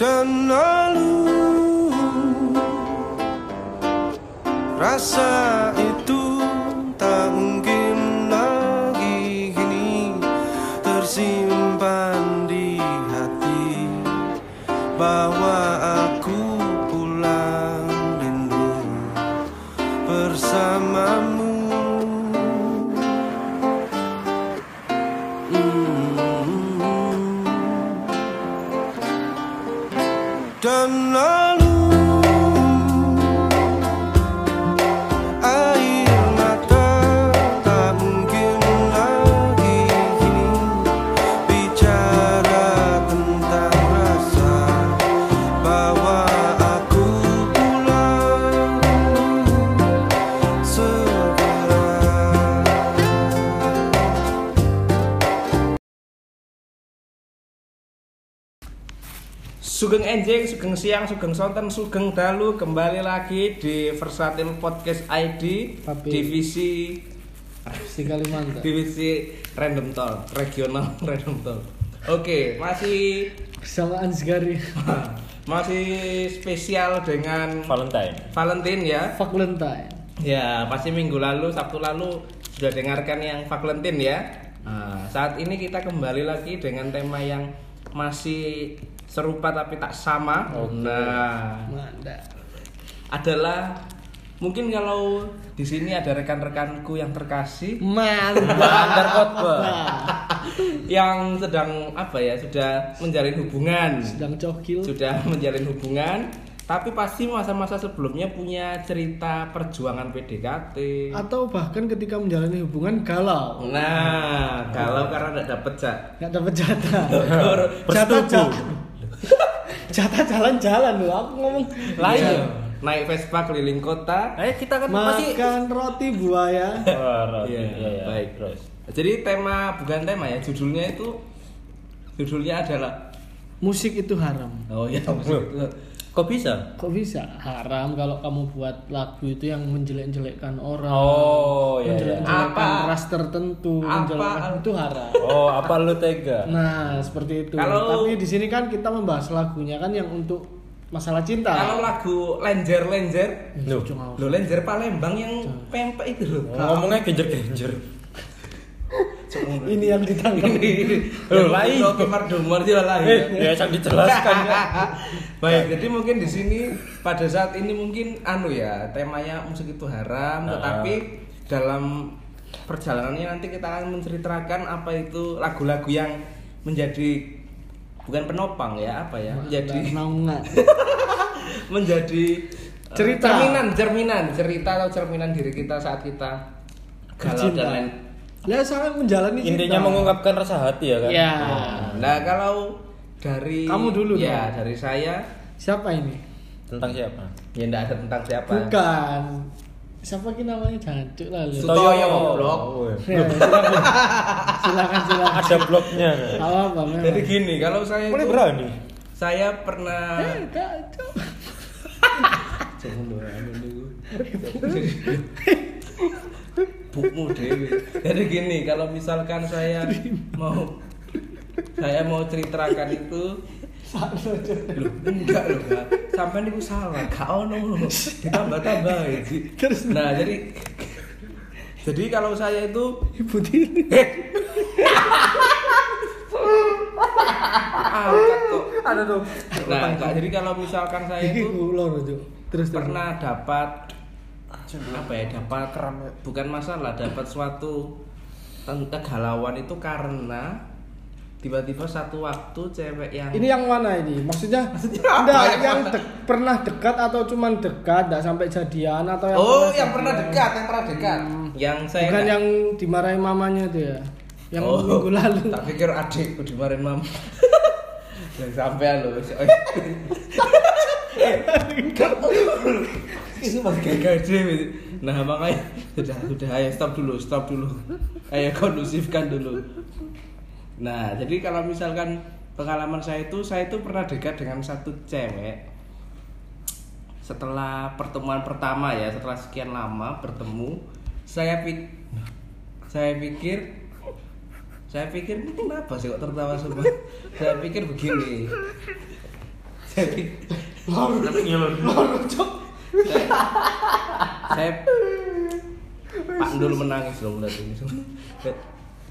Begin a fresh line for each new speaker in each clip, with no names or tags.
dan lalu Rasa itu tak mungkin lagi kini Tersimpan di hati Bahwa aku pulang rindu bersamamu Mm. dan lalu air mata tak mungkin lagi kini bicara tentang rasa bahwa aku pulang segera.
Sugeng Enjing, Sugeng Siang, Sugeng Sonten, Sugeng Dalu kembali lagi di Versatil Podcast ID
Tapi- Iya.
divisi
si Kalimantan
divisi random talk regional random talk. Oke, masih
sama Ansgari
masih spesial dengan
Valentine.
Valentine ya.
Valentine
Ya, pasti minggu lalu, Sabtu lalu sudah dengarkan yang Valentine ya. Nah, saat ini kita kembali lagi dengan tema yang masih serupa tapi tak sama. Nah,
Manda
adalah mungkin kalau di sini ada rekan-rekanku yang terkasih
Manda
yang sedang apa ya sudah menjalin hubungan
sedang cokil
sudah menjalin hubungan tapi pasti masa-masa sebelumnya punya cerita perjuangan PDKT
atau bahkan ketika menjalani hubungan galau
nah kalau karena tidak dapat cak
nggak dapat jatah jatah jalan jatah jalan-jalan loh aku ngomong Iya.
lain ya. naik Vespa keliling kota
iya. Eh kita kan masih
makan roti buaya
Iya,
Iya, iya,
baik.
terus.
jadi tema bukan tema ya judulnya itu judulnya adalah
musik itu haram
oh ya
iya, Kok bisa?
kok bisa haram kalau kamu buat lagu itu yang menjelek-jelekkan orang
Oh, iya, iya.
menjelek-jelekkan
Apa-
ras tertentu
apa-
menjelek-jelekkan itu haram
Oh, apa lu tega?
Nah, seperti itu.
Kalau-
Tapi di sini kan kita membahas lagunya kan yang untuk masalah cinta.
Kalau lagu Lenjer Lenjer,
Loh,
Cuma mau.
lo Lenjer Palembang yang pempek itu loh.
ngomongnya genjer-genjer.
ini yang ditangkap.
Loh, lain.
Lo kemar dumor dia
Iya.
Eh, Nah.
lain.
ya
Iya.
saya dijelaskan.
Baik, jadi mungkin di sini pada saat ini mungkin anu ya, temanya musik itu haram,
Nah.
tetapi dalam perjalanannya nanti kita akan menceritakan apa itu lagu-lagu yang menjadi bukan penopang ya, apa
Nah,
ya? Menjadi
naungan.
menjadi eh,
Cerita.
cerminan cerminan cerita atau cerminan diri kita saat kita galau
Cinta.
dan lain
Ya, saya menjalani cinta.
Intinya mengungkapkan rasa hati ya kan?
Ya.
nah kalau dari
Kamu dulu
ya dari saya
Siapa ini?
Tentang siapa?
ya enggak ada tentang siapa
Bukan. Siapa ki namanya jancuk lah lu.
Sutoyo, goblok.
Ya, silakan. silakan
Oh,
silakan.
iya. Ada blognya.
Gak apa
jadi
memang.
gini kalau saya
Mulai
itu-
berani.
saya pernah
Eh, jancuk.
bukmu dewi jadi gini kalau misalkan saya mau saya mau ceritakan itu Loh, enggak loh Kak. sampai niku salah gak ono loh. ditambah-tambah ya, Ji.
Terus?
nah jadi jadi kalau saya itu Eh.
Ibu tiri.
angkat kok
Ada dong.
nah Kak, jadi kalau misalkan saya
Iki
itu
ulur Cuk. Terus terus.
pernah dapat apa ya dapat bukan masalah dapat suatu ten- kegalauan itu karena tiba-tiba satu waktu cewek yang
Ini yang mana ini? Maksudnya?
Maksudnya apa
Enggak,
yang
yang,
mana?
de- pernah dekat atau cuman dekat, enggak sampai jadian atau yang
oh
pernah
yang pernah
jadian?
dekat yang pernah dekat yang saya
Bukan yang dimarahi mamanya itu ya. Yang
Oh,
minggu lalu.
tak pikir adikku dimarin mam yang sampai lo itu masih gagal dewe. nah makanya sudah sudah ayo stop dulu stop dulu ayo kondusifkan dulu nah jadi kalau misalkan pengalaman saya itu saya itu pernah dekat dengan satu cewek setelah pertemuan pertama ya setelah sekian lama bertemu saya pik saya pikir saya pikir ini kenapa sih kok tertawa semua saya pikir begini Jadi
Lor, lor, cok.
saya Pak Ndul menangis loh melihat ini semua.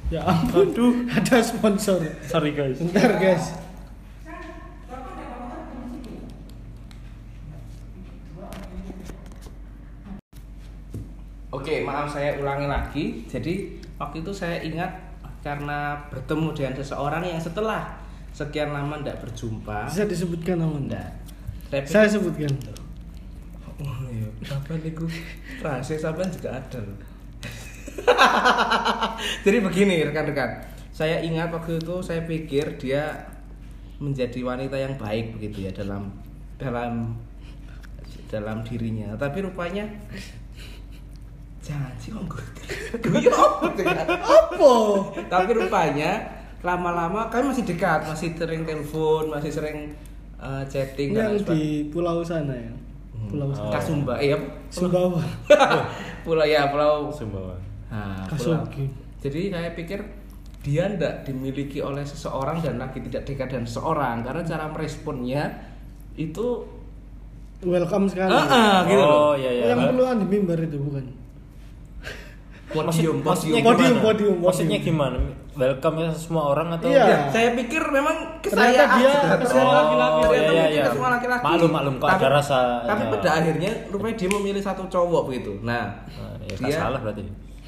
Ya ampun, Aduh. ada sponsor.
Sorry guys.
Bentar guys.
Oke, maaf saya ulangi lagi. Jadi waktu itu saya ingat karena bertemu dengan seseorang yang setelah sekian lama tidak berjumpa.
Bisa disebutkan namanya?
Tidak. Saya pikir-
Saya sebutkan.
Oh iya, kapan niku rahasia sampean juga ada. loh. Jadi begini rekan-rekan, saya ingat waktu itu saya pikir dia menjadi wanita yang baik begitu ya dalam dalam dalam dirinya, tapi rupanya jangan sih wong
Apa?
ya? tapi rupanya lama-lama kami masih dekat, masih sering telepon, masih sering eh, chatting
Yang
lain
di pulau sana ya.
Hmm.
Pulau sana.
Kasumba, iya.
Sumbawa.
pulau ya pulau
Sumbawa.
Nah, pulang.
Kasugi.
Jadi saya pikir dia tidak dimiliki oleh seseorang dan lagi tidak dekat dengan seseorang karena cara meresponnya itu
Welcome sekali.
Ah, ah, gitu loh.
Oh iya iya.
Yang perluan di mimbar itu bukan.
Maksud-
Podium,
maksudnya
podium.
Podium,
gimana?
podium, podium.
Maksudnya gimana? Welcome ya semua orang atau
Iya.
Ya, saya pikir memang
Ternyata
kesayaan.
dia-
ternyata
Oh,
laki-laki, ternyata
iya,
mungkin
iya.
semua laki-laki.
Maklum, maklum, kok
Tapi-
ada rasa-
Tapi
ya.
pada akhirnya rupanya dia memilih satu cowok begitu. Nah,
Nah, ya, nggak salah berarti.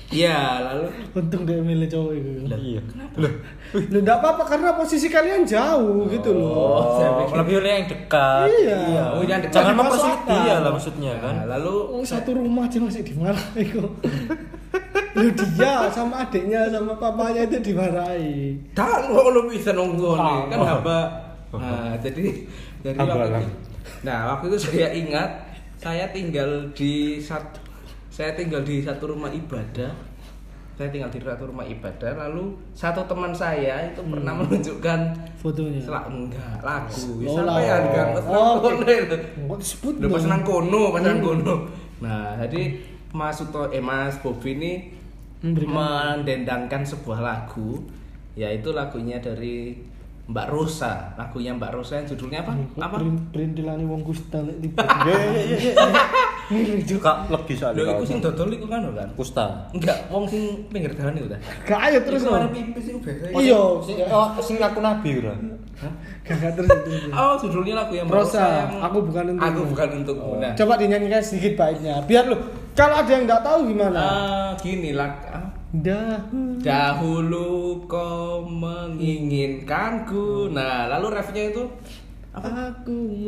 Iya, lalu
Untung dia milih cowok itu.
Iya.
Loh, enggak apa-apa karena posisi kalian jauh gitu loh.
Oh, saya
Oh,
pikir-
lebih oleh yang dekat.
Iya.
Oh, yang dekat
Jangan
masuk
mempersulit
akal.
dia lah maksudnya kan.
nah, lalu
Oh, satu rumah aja masih dimarahi kok. Lu dia sama adiknya sama papanya itu dimarahi.
Tahan kok lu bisa nunggu nih kan
Oh.
haba. Nah, jadi jadi
Haba
waktu
lah.
itu, nah waktu itu saya ingat saya tinggal di satu saya tinggal di satu rumah ibadah. Saya tinggal di satu rumah ibadah. Lalu satu teman saya itu pernah menunjukkan
Fotonya.
selak enggak lagu.
Iya. Oh,
Sampai
lah.
harga
Oh,
oh, kono itu.
Kok disebut
Udah pas
dong? Hmm.
nang kono, pas nang kono. Nah, jadi Mas Suto eh Mas Bobi ini
Memberikan-
mendendangkan sebuah lagu yaitu lagunya dari Mbak Rosa. Lagunya Mbak Rosa yang judulnya apa? Apa?
Berintilani wong kusta nek tiba. Ya ya ya ya. Ngeri juga.
Kak legi
Lho
soalnya.
iku
kau.
sing dodol iku kan lho, kan.
Kusta.
Enggak, wong sing pinggir dalan itu dah.
Gak ayo terus
Iku
loh.
mari pipis iku biasa.
Iya.
Sing- Oh, sing aku nabi ora.
Gak gak terus itu.
Oh, judulnya lagu yang Mbak
Rosa,
Rosa. yang
Aku Bukan Untukmu. Oh.
Aku bukan untukmu. Nah,
Coba dinyanyikan sedikit baiknya. Biar lu kalau ada yang enggak tahu gimana.
eh, gini lah.
Dahulu
Dahulu kau menginginkanku. Nah, lalu refnya itu
aku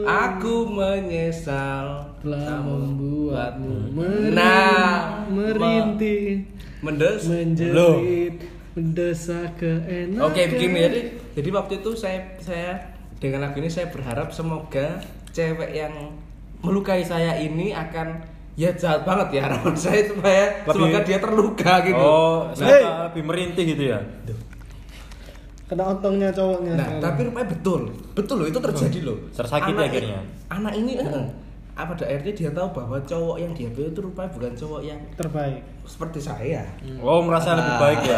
Aku menyesal
telah membuatmu
membuatmu.
merintih,
Nah,
merintih,
mendes. Loh.
menjerit, mendesak keenakan.
Oke, begini jadi jadi waktu itu saya saya dengan lagu ini saya berharap semoga cewek yang melukai saya ini akan ya jahat banget ya harapan saya supaya
Lebih-
semoga dia terluka gitu.
Oh,
nah,
Hey.
saya lebih merintih gitu ya.
Kena ontongnya cowoknya.
nah,
sekarang.
tapi rupanya betul. Betul loh itu terjadi loh.
Tersakiti
Anak-
akhirnya.
Anak ini eh, apa pada akhirnya dia tahu bahwa cowok yang dia pilih itu rupanya bukan cowok yang
terbaik.
seperti saya.
Oh, merasa lebih
Ah.
baik ya.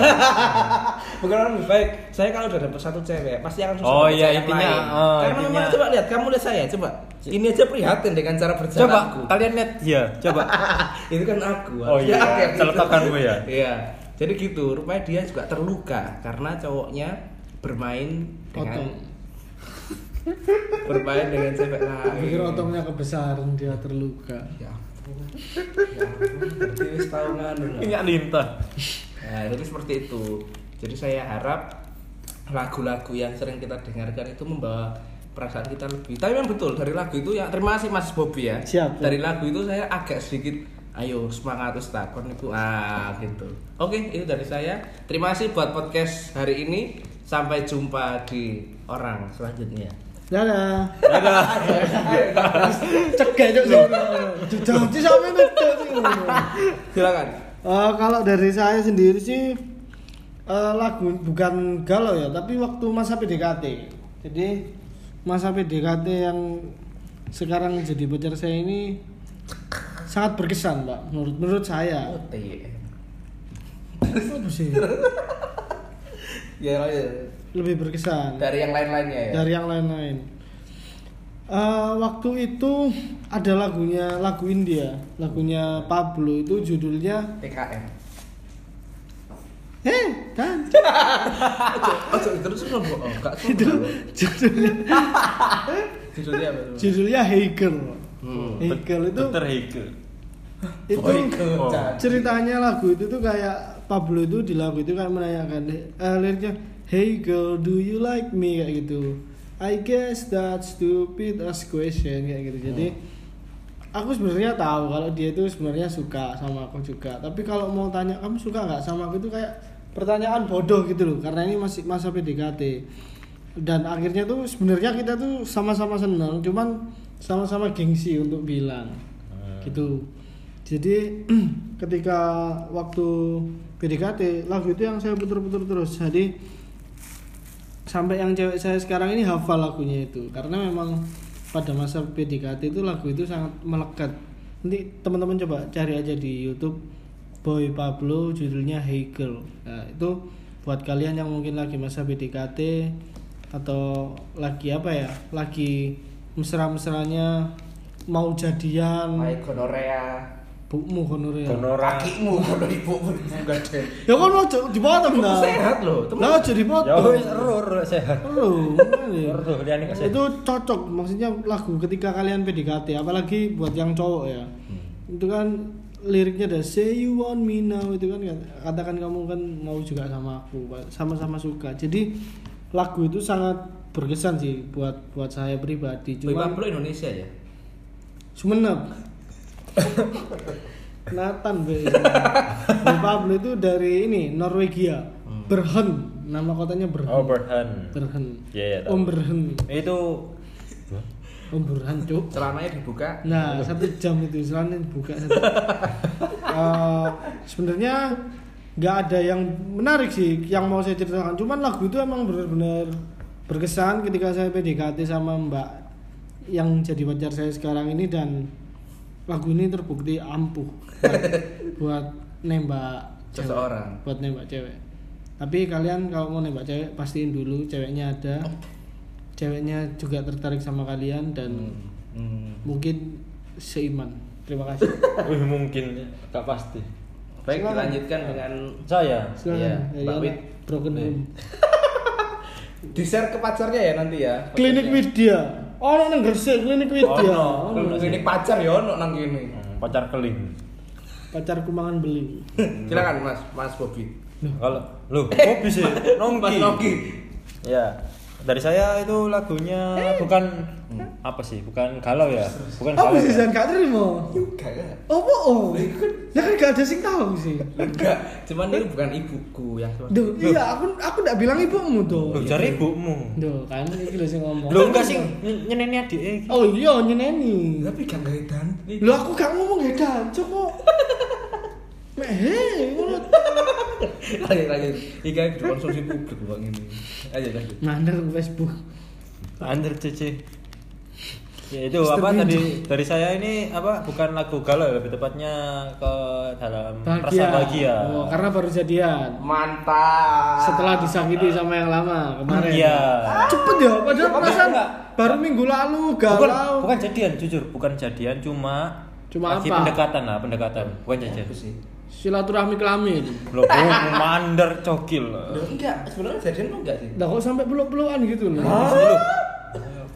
bukan orang lebih baik saya kalau udah dapet satu cewek pasti akan susah
Oh,
dapet
iya,
cewek yang
intinya,
lain.
oh,
karena
intinya.
memang coba lihat kamu lihat saya coba ini aja prihatin dengan cara
Coba
berjalanku
kalian lihat ya, coba.
itu kan aku
Oh, iya.
Kayak gitu.
Celetakanmu ya?
iya jadi gitu rupanya dia juga terluka karena cowoknya bermain dengan
Otong.
bermain dengan cewek lain
Pikir otongnya kebesaran dia terluka.
ya ampun ya ampun berarti wis tau nganu lah.
Enggak lintah.
Nah, jadi Iya. seperti itu. Jadi saya harap lagu-lagu yang sering kita dengarkan itu membawa perasaan kita lebih. Tapi memang betul dari lagu itu ya terima kasih Mas Bobi ya.
Siap, siap.
Dari lagu itu saya agak sedikit ayo semangat Ustaz kon itu ah gitu. Oke, itu dari saya. Terima kasih buat podcast hari ini. Sampai jumpa di orang selanjutnya.
Dadah.
Dadah.
Cegah cok sih. Janji sampe ngedek sih.
Silakan.
Eh, kalau dari saya sendiri sih eh, lagu bukan galau ya, tapi waktu masa PDKT. Jadi masa PDKT yang sekarang jadi pacar saya ini sangat berkesan, Pak. Menurut menurut saya. Apa sih?
Ya, ya.
Lebih berkesan
dari yang lain-lainnya ya.
dari yang lain-lain. Eh, waktu itu ada lagunya lagu India, lagunya Pablo itu judulnya
TKM
Eh, kan
ojo Oh, terus lu bohong gak
itu
judulnya
judulnya,
apa tuh
judulnya Hey Girl.
Hmm.
Hey Girl itu
Dokter Hegel.
itu
Oh, itu,
Oh.
Cak.
ceritanya lagu itu tuh kayak Pablo itu di lagu itu kan menanyakan eh, liriknya Hey girl, do you like me kayak gitu. I guess that stupid as question kayak gitu. Jadi aku sebenarnya tahu kalau dia itu sebenarnya suka sama aku juga. Tapi kalau mau tanya kamu suka nggak sama aku itu kayak pertanyaan bodoh gitu loh karena ini masih masa PDKT. Dan akhirnya tuh sebenarnya kita tuh sama-sama senang, cuman sama-sama gengsi untuk bilang gitu jadi ketika waktu PDKT lagu itu yang saya puter-puter terus jadi sampai yang cewek saya sekarang ini hafal lagunya itu karena memang pada masa PDKT itu lagu itu sangat melekat nanti teman-teman coba cari aja di YouTube Boy Pablo judulnya Hey Girl nah, itu buat kalian yang mungkin lagi masa PDKT atau lagi apa ya lagi mesra-mesranya mau jadian
Mai gonorea
bukmu honor ya
Gonora.
kakimu kalau ibumu enggak deh
ya kan mau dipotong
Kamu
nah
sehat loh, teman.
nah jadi
Ya
dipotong
wis error sehat.
Aduh,
Error liane gak sehat.
itu cocok maksudnya lagu ketika kalian PDKT apalagi buat yang cowok ya
Hmm.
itu kan liriknya ada say you want me now itu kan kata- katakan kamu kan mau juga sama aku sama-sama suka jadi lagu itu sangat berkesan sih buat buat saya pribadi
Boy
cuma
Pablo Indonesia ya
Sumeneb Nathan be Boy Pablo itu dari ini Norwegia Berhen nama kotanya Berhen
Hmm. Oh, Berhan.
Berhen
Iya, iya, tahu.
Om Berhen
Itu
Om Berhen cuk
celananya dibuka
Nah, satu jam itu selain buka satu. Eh, Sebenarnya nggak ada yang menarik sih yang mau saya ceritakan. Cuman lagu itu emang benar-benar berkesan ketika saya PDKT sama Mbak yang jadi pacar saya sekarang ini dan lagu ini terbukti ampuh buat, buat nembak cewek.
Seseorang.
buat nembak cewek. Tapi kalian kalau mau nembak cewek pastiin dulu ceweknya ada, ceweknya juga tertarik sama kalian dan
Hmm.
mungkin seiman terima kasih
wih mungkin gak pasti.
baik
Silakan.
dilanjutkan dengan
Saya
Iya,
silakan
Mbak
dari anak
Wit.
broken
Wit.
room
di share ke pacarnya ya nanti ya
klinik Widya ono nang Gresik klinik Widya
Ono.
Ono.
klinik pacar ya ono nang kene
Hmm, pacar keling.
pacarku mangan beli
silakan mas mas Bobby
Kalau lu kopi sih,
mas
Eh. nongki.
Nogi
Ya, dari saya itu lagunya bukan hmm, apa sih? Bukan galau ya. Bukan
apa
galau.
sih
ya.
Zan gak terima
Kagak.
apa oh ya kan gak ada sing tahu sih
enggak cuman itu bukan ibuku ya. yang seperti
Duh, iya aku aku gak bilang ibumu tuh
Lu cari ibumu.
Duh, kan iki lho sing ngomong
Lu enggak sih ny- nyeneni adik eh.
oh iya nyeneni
tapi gak ngedan
Lu aku gak ngomong ya, edan cukup Mehe, ngono.
lanjut lanjut ini kan dikonsumsi publik bang ini aja lanjut
Mandar ke Facebook.
Under CC. Ya itu
Mr.
apa
Windu.
tadi dari saya ini apa bukan lagu galau ya, lebih tepatnya ke dalam rasa
Bahagia.
bahagia.
Oh, karena baru jadian.
mantap
setelah disakiti sama yang lama kemarin.
Iya.
Cepet ya, padahal
Enggak,
perasaan
enggak.
baru minggu lalu
Bukan,
galau.
bukan jadian jujur, bukan jadian cuma
Cuma
lagi
apa?
pendekatan lah, pendekatan. Bukan jadian.
Apa sih
Silaturahmi kelamin.
Loh, gua mandar cokil.
Duh, enggak sebenarnya jadian lu enggak sih
Lah kok sampai peluk-pelukan gitu loh.
Loh.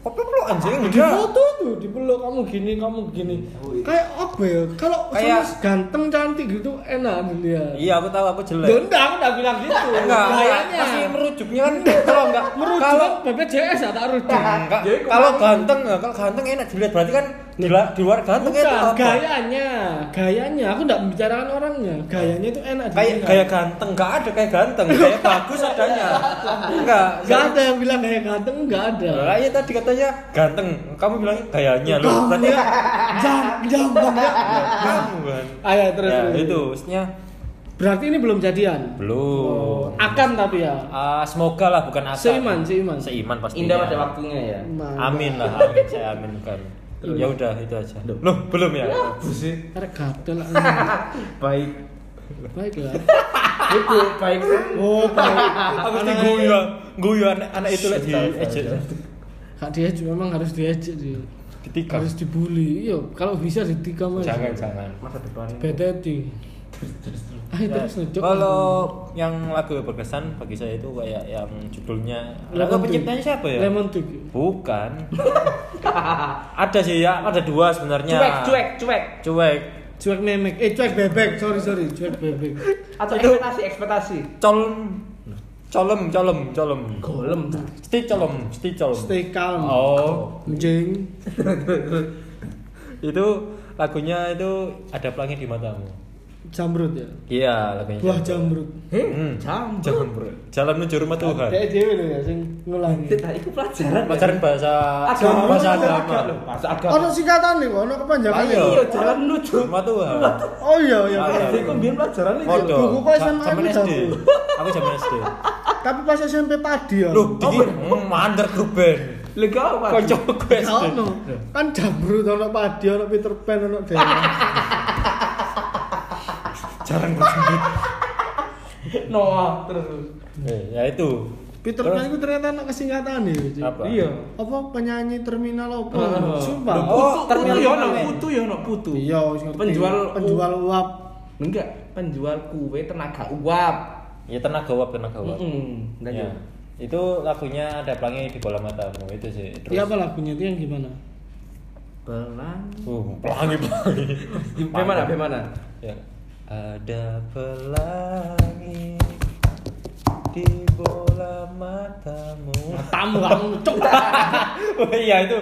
Kok lu anjing
Di
Ah, enggak?
foto tuh dipeluk kamu gini, kamu gini. Kayak apa ya? Kalau
Kayak-
sama ganteng cantik gitu enak dilihat.
Iya, aku tahu aku jelek.
Loh, enggak, aku enggak bilang gitu.
Enggak, enggak.
Kayaknya.
Masih merujuknya kan kalau enggak
merujuk
kalau
BPJS ya tak rujuk.
enggak
Jadi
kalau
kemarin-
ganteng enggak, kalau ganteng enak dilihat berarti kan di, la- di luar ganteng ya, itu
Bukan,
Nah, gitu, apa?
gayanya, gayanya. Aku enggak membicarakan orangnya. Gayanya itu enak
kayak
dilihat.
gaya ganteng enggak ada kayak ganteng kayak bagus adanya enggak
Gak ada yang bilang gaya ganteng, gak ada.
lah ya tadi katanya ganteng kamu bilangnya gayanya loh berarti
ya, jam, jam banget.
kamu kan
Ayo terus.
ya
terus.
itu maksudnya
Berarti ini belum jadian. Oh,
belum
Akan tapi ya.
Ah, semoga lah bukan asal
Seiman, seiman.
seiman pasti
indah pada waktunya ya
amin lah amin saya aminkan ya udah itu aja loh belum ya
Iya.
apa sih
Karena gatel lah.
baik
Baik lah.
itu baik
Oh, baik.
aku mesti guyu guyu anak, anak itu lah di
Astagfirullah.
ejek
Kak diajak memang harus diajak sih.
Ketika
Harus dibully. Iya, kalau bisa ditikam aja.
jangan jangan.
masa depan
Beteti.
Ya.
Ayo Eh, terus ngejuk.
Nah, Kalau yang lagu berkesan bagi saya itu kayak yang judulnya lagu
Lemon
penciptanya
Twig.
siapa ya?
Lemon Twig.
Bukan. ada sih ya, ada dua sebenarnya.
cuek cuek cuek
Cuek.
Cuek memek. Eh cuek bebek. Sorry sorry. Cuek bebek.
atau
Itu-
ekspektasi ekspektasi
Colom. Colom, colom, colom.
golem
Stay colom, stay colom.
Stay calm.
Oh.
Anjing.
itu lagunya itu ada pelangi di matamu
Jamrut ya.
iya lagunya
Buah jamrut.
heh
Hmm.
jam
jangan bro jalan menuju rumah Tuhan
Dek dhewe lho ya sing ngulangi.
Tidak, itu pelajaran ya?
pelajaran bahasa
agama
bahasa
agama
agama
bahasa
Ono
agama
singkatane kok, ono kepanjangan.
Ayo.
iya jalan menuju
rumah Tuhan
Oh iya iya.
Ayo.
Jadi aku biar pelajaran itu
Waduh,
Buku kok
ja-
SMA
zaman
aku
SD.
jago.
Aku zaman SD.
Tapi pas SMP padi ya.
Loh, diki mandar grup band.
lega apa
Kanca gue SD.
iya. Ono. Kan jamrut ono padi, ono Peter Pan, ono dewa.
Jarang gue sebut.
no terus terus.
Eh, ya itu.
Peter
Terus?
Pan itu ternyata ono kesingkatane ya. Cik.
Apa? Ah.
Iya. Apa penyanyi terminal apa?
Oh.
Sumpah.
Loh,
putu
Oh,
putu
ternyata
ya no
namanya.
putu ya no putu
Iya, wis ngerti.
Penjual-
penjual uap.
enggak penjual kue tenaga uap
Ya tenaga uap, tenaga uap.
Mm-mm. Dan
Ya.
ya.
Itu lagunya ada pelangi di bola matamu itu sih.
Iya apa lagunya itu yang gimana?
belang
Uh, pelangi pelangi.
bagaimana bagaimana
Ya. Ada pelangi di bola matamu.
Tamu kamu cok.
Oh iya itu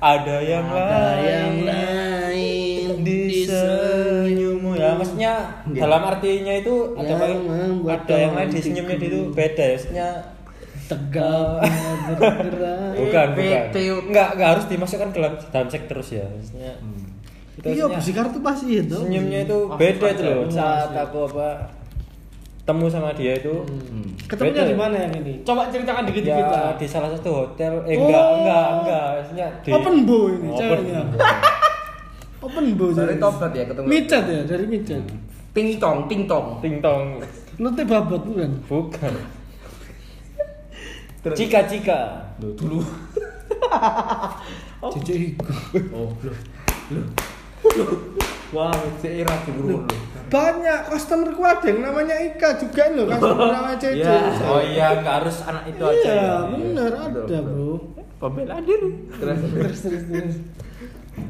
ada yang
Ada
lain.
yang lain
di senyummu ya maksudnya
Iya.
dalam artinya itu ada
Yang
paling-
membuat
ada yang lain di
romantiku.
senyumnya itu beda ya maksudnya
tegak bergerak.
bukan bukan
bete.
nggak nggak harus dimasukkan ke dalam dalam seks terus ya maksudnya Itu
Iya,
maksudnya
bisikar tuh pasti itu.
senyumnya itu
Ah,
beda
bukan,
itu loh
bukan.
saat aku apa temu sama dia itu
Ketemunya
Beda.
di mana yang ini? Coba
ya
ceritakan Hmm. dikit-dikit lah.
di salah satu hotel eh
Oh.
enggak enggak enggak maksudnya di
Open bow ini
Open
ceweknya.
bow.
Open bow.
dari
cewek.
tobat ya ketemu
Micet ya, dari micet.
tingtong tingtong
tingtong
Nanti babat bukan?
bukan
Terus.
cika cika
dulu
Cece iku.
oh loh loh loh wah si era dulu
Banyak customer ku ada yang namanya Ika juga loh, customer namanya Cece.
Iya.
oh iya nggak harus anak itu aja Eh.
Iya,
ya.
bener ada,
Betul,
Bro.
pembelaan diri terus
Terus terus terus.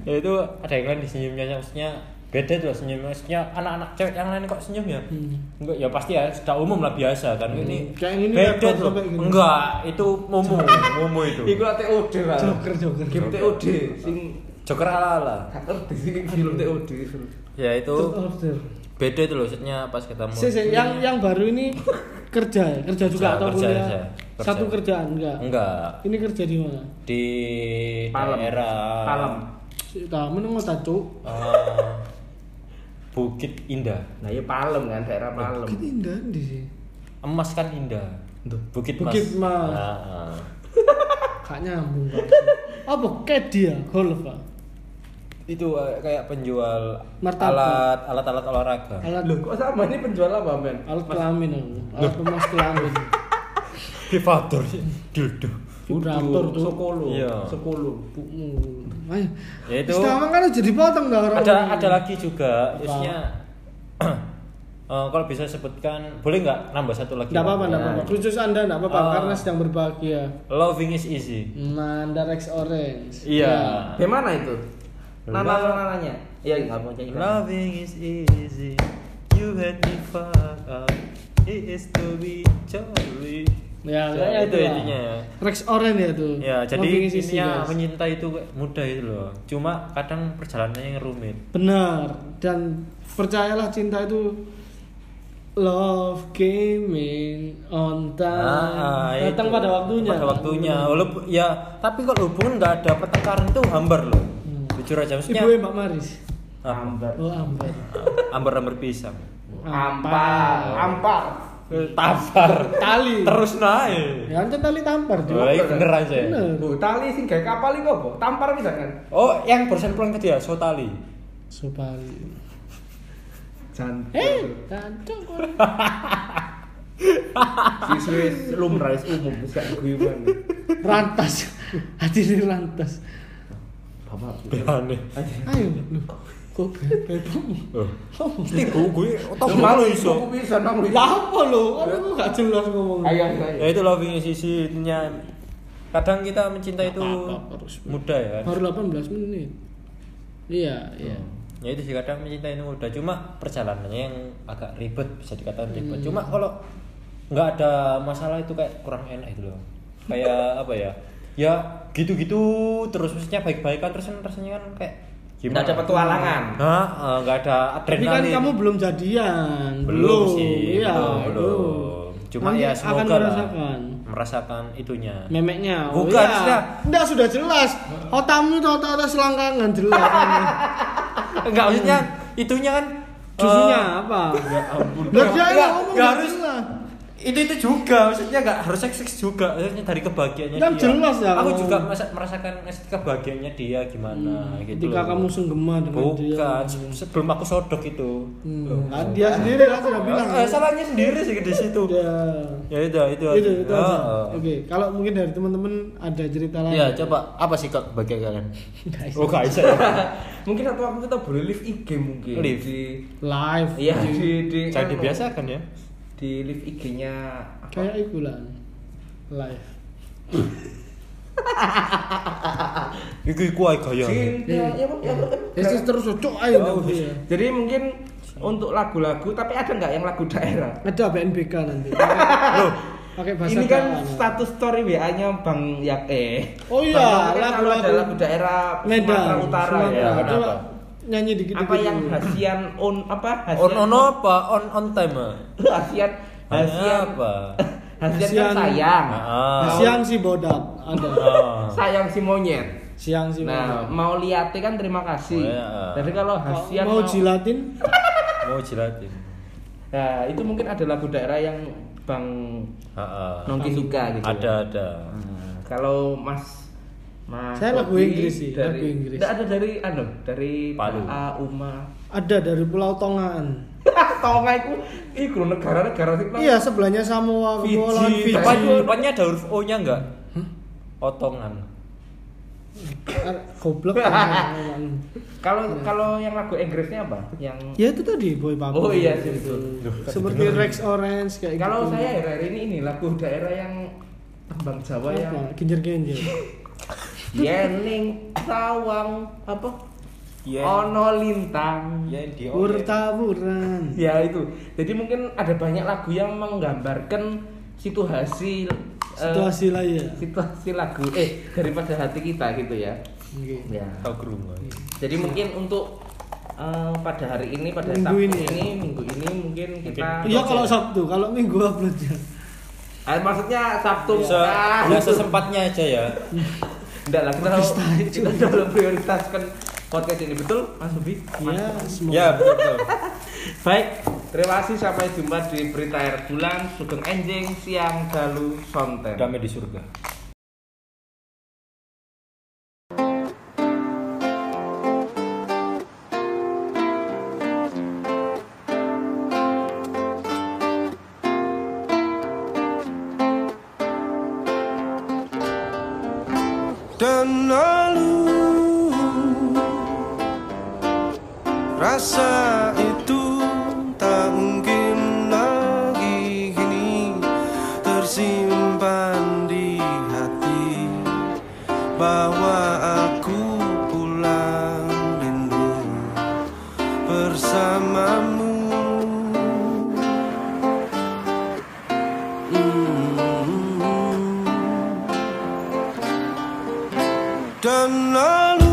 ya itu ada yang lain di senyumnya maksudnya beda tuh senyumnya maksudnya anak-anak cewek yang lain kok senyum ya
Hmm.
enggak ya pasti ya sudah umum lah biasa kan ini
Kayak ini
beda
lebar
tuh
sampai gini.
enggak itu mumu mumu itu
Iku lah TOD lah.
Joker, joker.
Game TOD sing
joker ala ala
gak ngerti sih ini film TOD. film.
ya itu
Terus order.
beda tuh loh maksudnya pas ketemu
Si, si, yang yang baru ini kerja ya? kerja
Kerja,
juga atau
kerja,
kuliah?
kerja. Kerja.
Satu kerjaan enggak?
enggak
Ini kerja di mana?
di
Palem.
daerah
Palem.
Si ta menengok ta cuk.
eh, Bukit Indah
Nah, ya Palem kan daerah Palem.
Kita indah di sini.
emas kan indah
Duh.
Bukit Mas
Bukit Mas.
Ah, ah.
Kak nyambung Pak. Apa kedi ya? Golf Pak.
itu eh, kayak penjual
Martabak.
alat alat alat olahraga
Alat
Loh, kok sama ini penjual apa, Men?
alat kelamin aku. Alat pemas kelamin.
vibrator dildo
Vibrator tuh.
Sokolo.
Iya.
Sokolo.
Pukmu. Ayo.
Ya, itu.
Sekarang kan udah dipotong dah orang.
ada
ini.
ada lagi juga isinya eh, kalau bisa sebutkan boleh nggak nambah satu lagi
Enggak apa-apa, enggak apa-apa. Khusus Anda enggak apa-apa
Ya. Ah.
karena sedang berbahagia.
Nah, loving is easy
Mandarex Orange.
iya
Bagaimana itu?
Love.
Nana-nananya. Iya, enggak mau nyanyi.
loving is easy you had me fucked up it is to be jolly
Ya,
Ya,
kayak
itu
itu lah.
intinya ya.
Rex Orange ya tuh.
ya
Loving
jadi
is easy,
isinya
guys.
menyintai itu mudah itu loh cuma kadang perjalanannya yang rumit
Benar dan percayalah cinta itu love came in on
Ah,
time.
itu.
Datang pada waktunya.
Pada waktunya. Walaupun ya, tapi kok hubungan nggak ada pertengkaran itu hambar loh.
Hmm.
Jujur aja maksudnya. Ah,
Ibu Mbak Maris.
Ambar.
Oh, ambar.
Ambar ambar pisang.
Ampar. Ampar.
Tampar.
Eh, Tali.
Terus naik.
Ya kan tali tampar juga.
Baik bener aja.
Bener.
Bu, tali sing gawe kapal iku apa? Tampar bisa kan?
Oh, yang barusan pulang tadi ya, Sotali.
Supari.
Jantung.
Eh, tancung.
Siswi lumrah wis umum bisa guyon.
rantas hati ini rantas
Bapak.
Berane.
ayo lu kok bebekmu
Oh.
Kamu-
Tiku gue otak
Mau
malu iso.
Aku bisa nang lu.
lah apa lo kan aku gak jelas ngomong
Ayo ayo. ayo.
Ya itu loving sisinya. Kadang kita mencinta itu
Apa-apa, harus.
muda ya kan.
baru 18 menit iya iya
Ya itu sih kadang mencintai itu mudah cuma perjalanannya yang agak ribet bisa dikatakan
Hmm.
ribet. Cuma kalau nggak ada masalah itu kayak kurang enak itu loh. Kayak apa ya? Ya gitu-gitu terus maksudnya baik-baikan terus kan rasanya kan kayak
Nggak ada petualangan.
Hah, eh, nggak ada
tapi kan
adrenalin.
kamu belum jadian
belum sih,
iya
belum, belum. Cuma
Nanti
ya
akan
semoga lah
merasakan.
merasakan itunya.
memeknya
Bukan,
iya.
sudah.
Nggak, sudah jelas otakmu itu otak-otak selangkangan jelas
Enggak maksudnya itunya kan
Jusunya
eh,
apa?
Ya ampun.
Lah, dia
Enggak,
ngomong
enggak
nggak
ya harus
jelas.
itu itu juga maksudnya nggak harus seks seks juga maksudnya dari kebahagiaannya
Kan
dia.
jelas ya
aku
kalau-
juga merasa- merasakan kebahagiaannya dia gimana gitu
Hmm, ketika
loh.
kamu sunggema dengan dia
bukan se- sebelum aku sodok itu
Hmm, kan dia sendiri kan sudah bilang
Eh, salahnya sendiri sih di situ
udah
ya udah itu
itu
aja.
itu aja.
Ah, ah.
Oke, kalau mungkin dari teman-teman ada cerita lain.
ya coba apa sih kok bagian kalian
Nggak bisa.
oh nggak bisa ya
Mungkin satu waktu kita boleh live IG mungkin.
Live.
Di
Live.
Iya di di
jadi
anu,
biasa kan ya
Di live IG-nya
Kayak itu lah. Live.
iku iku aja gaya
Cinta ya Pak, ya, Pak.
Ya sis, terus cocok ayo.
Oh,
nanti ya.
Jadi mungkin untuk lagu-lagu tapi ada nggak yang lagu daerah?
Ada BNBK nanti.
loh
Pakai bahasa
Ini kan
Jawa.
status story WA-nya Bang Yak eh.
Oh iya,
Bang Yak kan kalau
lagu-lagu.
ada lagu daerah
Medan,
Sumatera Utara
Sumatera.
ya.
kenapa?
Coba gitu, nyanyi Nah, dikit
Apa yang hasian on apa
on
hasian
on apa on on time ah.
hasian hasian
apa
hasian
Hasian.
kan sayang.
Ah.
Nah.
Siang si bodat ada.
Ah.
Sayang si monyet.
Siang si
Nah,
bodat.
mau lihat kan terima kasih.
Oh, iya.
Jadi kalau
Kalau
hasian
mau jilatin?
mau jilatin
Nah, itu mungkin ada lagu daerah yang Bang
Ah, ah.
Nongki suka gitu.
ada ada
Nah, kalau Mas Mas
Saya lagu
Robi
Inggris sih,
dari,
lagu Inggris.
Nggak ada dari anu, dari
Palu.
A Uma.
Ada dari Pulau Tongaan.
Tonga iku iku negara-negara sih. Bang.
Iya, sebelahnya Samoa,
Fiji,
Kepulauan Fiji.
Depan, depannya ada huruf O nya enggak otongan
Ah, Goblok. Tongaan.
Kalau
Iya.
kalau yang lagu Inggrisnya apa? Yang
Ya itu tadi boy
Oh
pablo.
iya, sih,
Gitu.
betul.
Seperti Rex Orange kayak
kalau
gitu.
saya akhir-akhir ini ini lagu daerah yang Bang Jawa yang
apa? Genjer-genjer.
Ya, oh, Yening Sawang apa?
Yen.
Ono lintang.
Ya, di
Ur taburan.
Ya itu. Jadi mungkin ada banyak lagu yang menggambarkan situasi eh,
Situasi lah ya.
situasi lagu eh daripada hati kita gitu ya.
Oke.
Ya.
tahu kerungu
Jadi mungkin untuk eh, pada hari ini pada
Minggu
Sabtu
ini
ini,
ya?
minggu ini mungkin kita
Iya kalau Sabtu, kalau Minggu uploadnya.
Eh, maksudnya Sabtu
Se
Ah,
ya
itu.
sesempatnya aja ya
Enggak lah kita kita belum prioritaskan podcast ini betul Mas Ubi?
Ya, semoga.
ya betul, betul.
Baik, terima kasih sampai jumpa di berita air bulan Sugeng Enjing Siang Dalu Sonten.
damai di surga
dan lalu Rasa itu tak mungkin lagi kini tersimpan di hati Bahwa aku pulang rindu bersamamu Hmm. Mm. dan lalu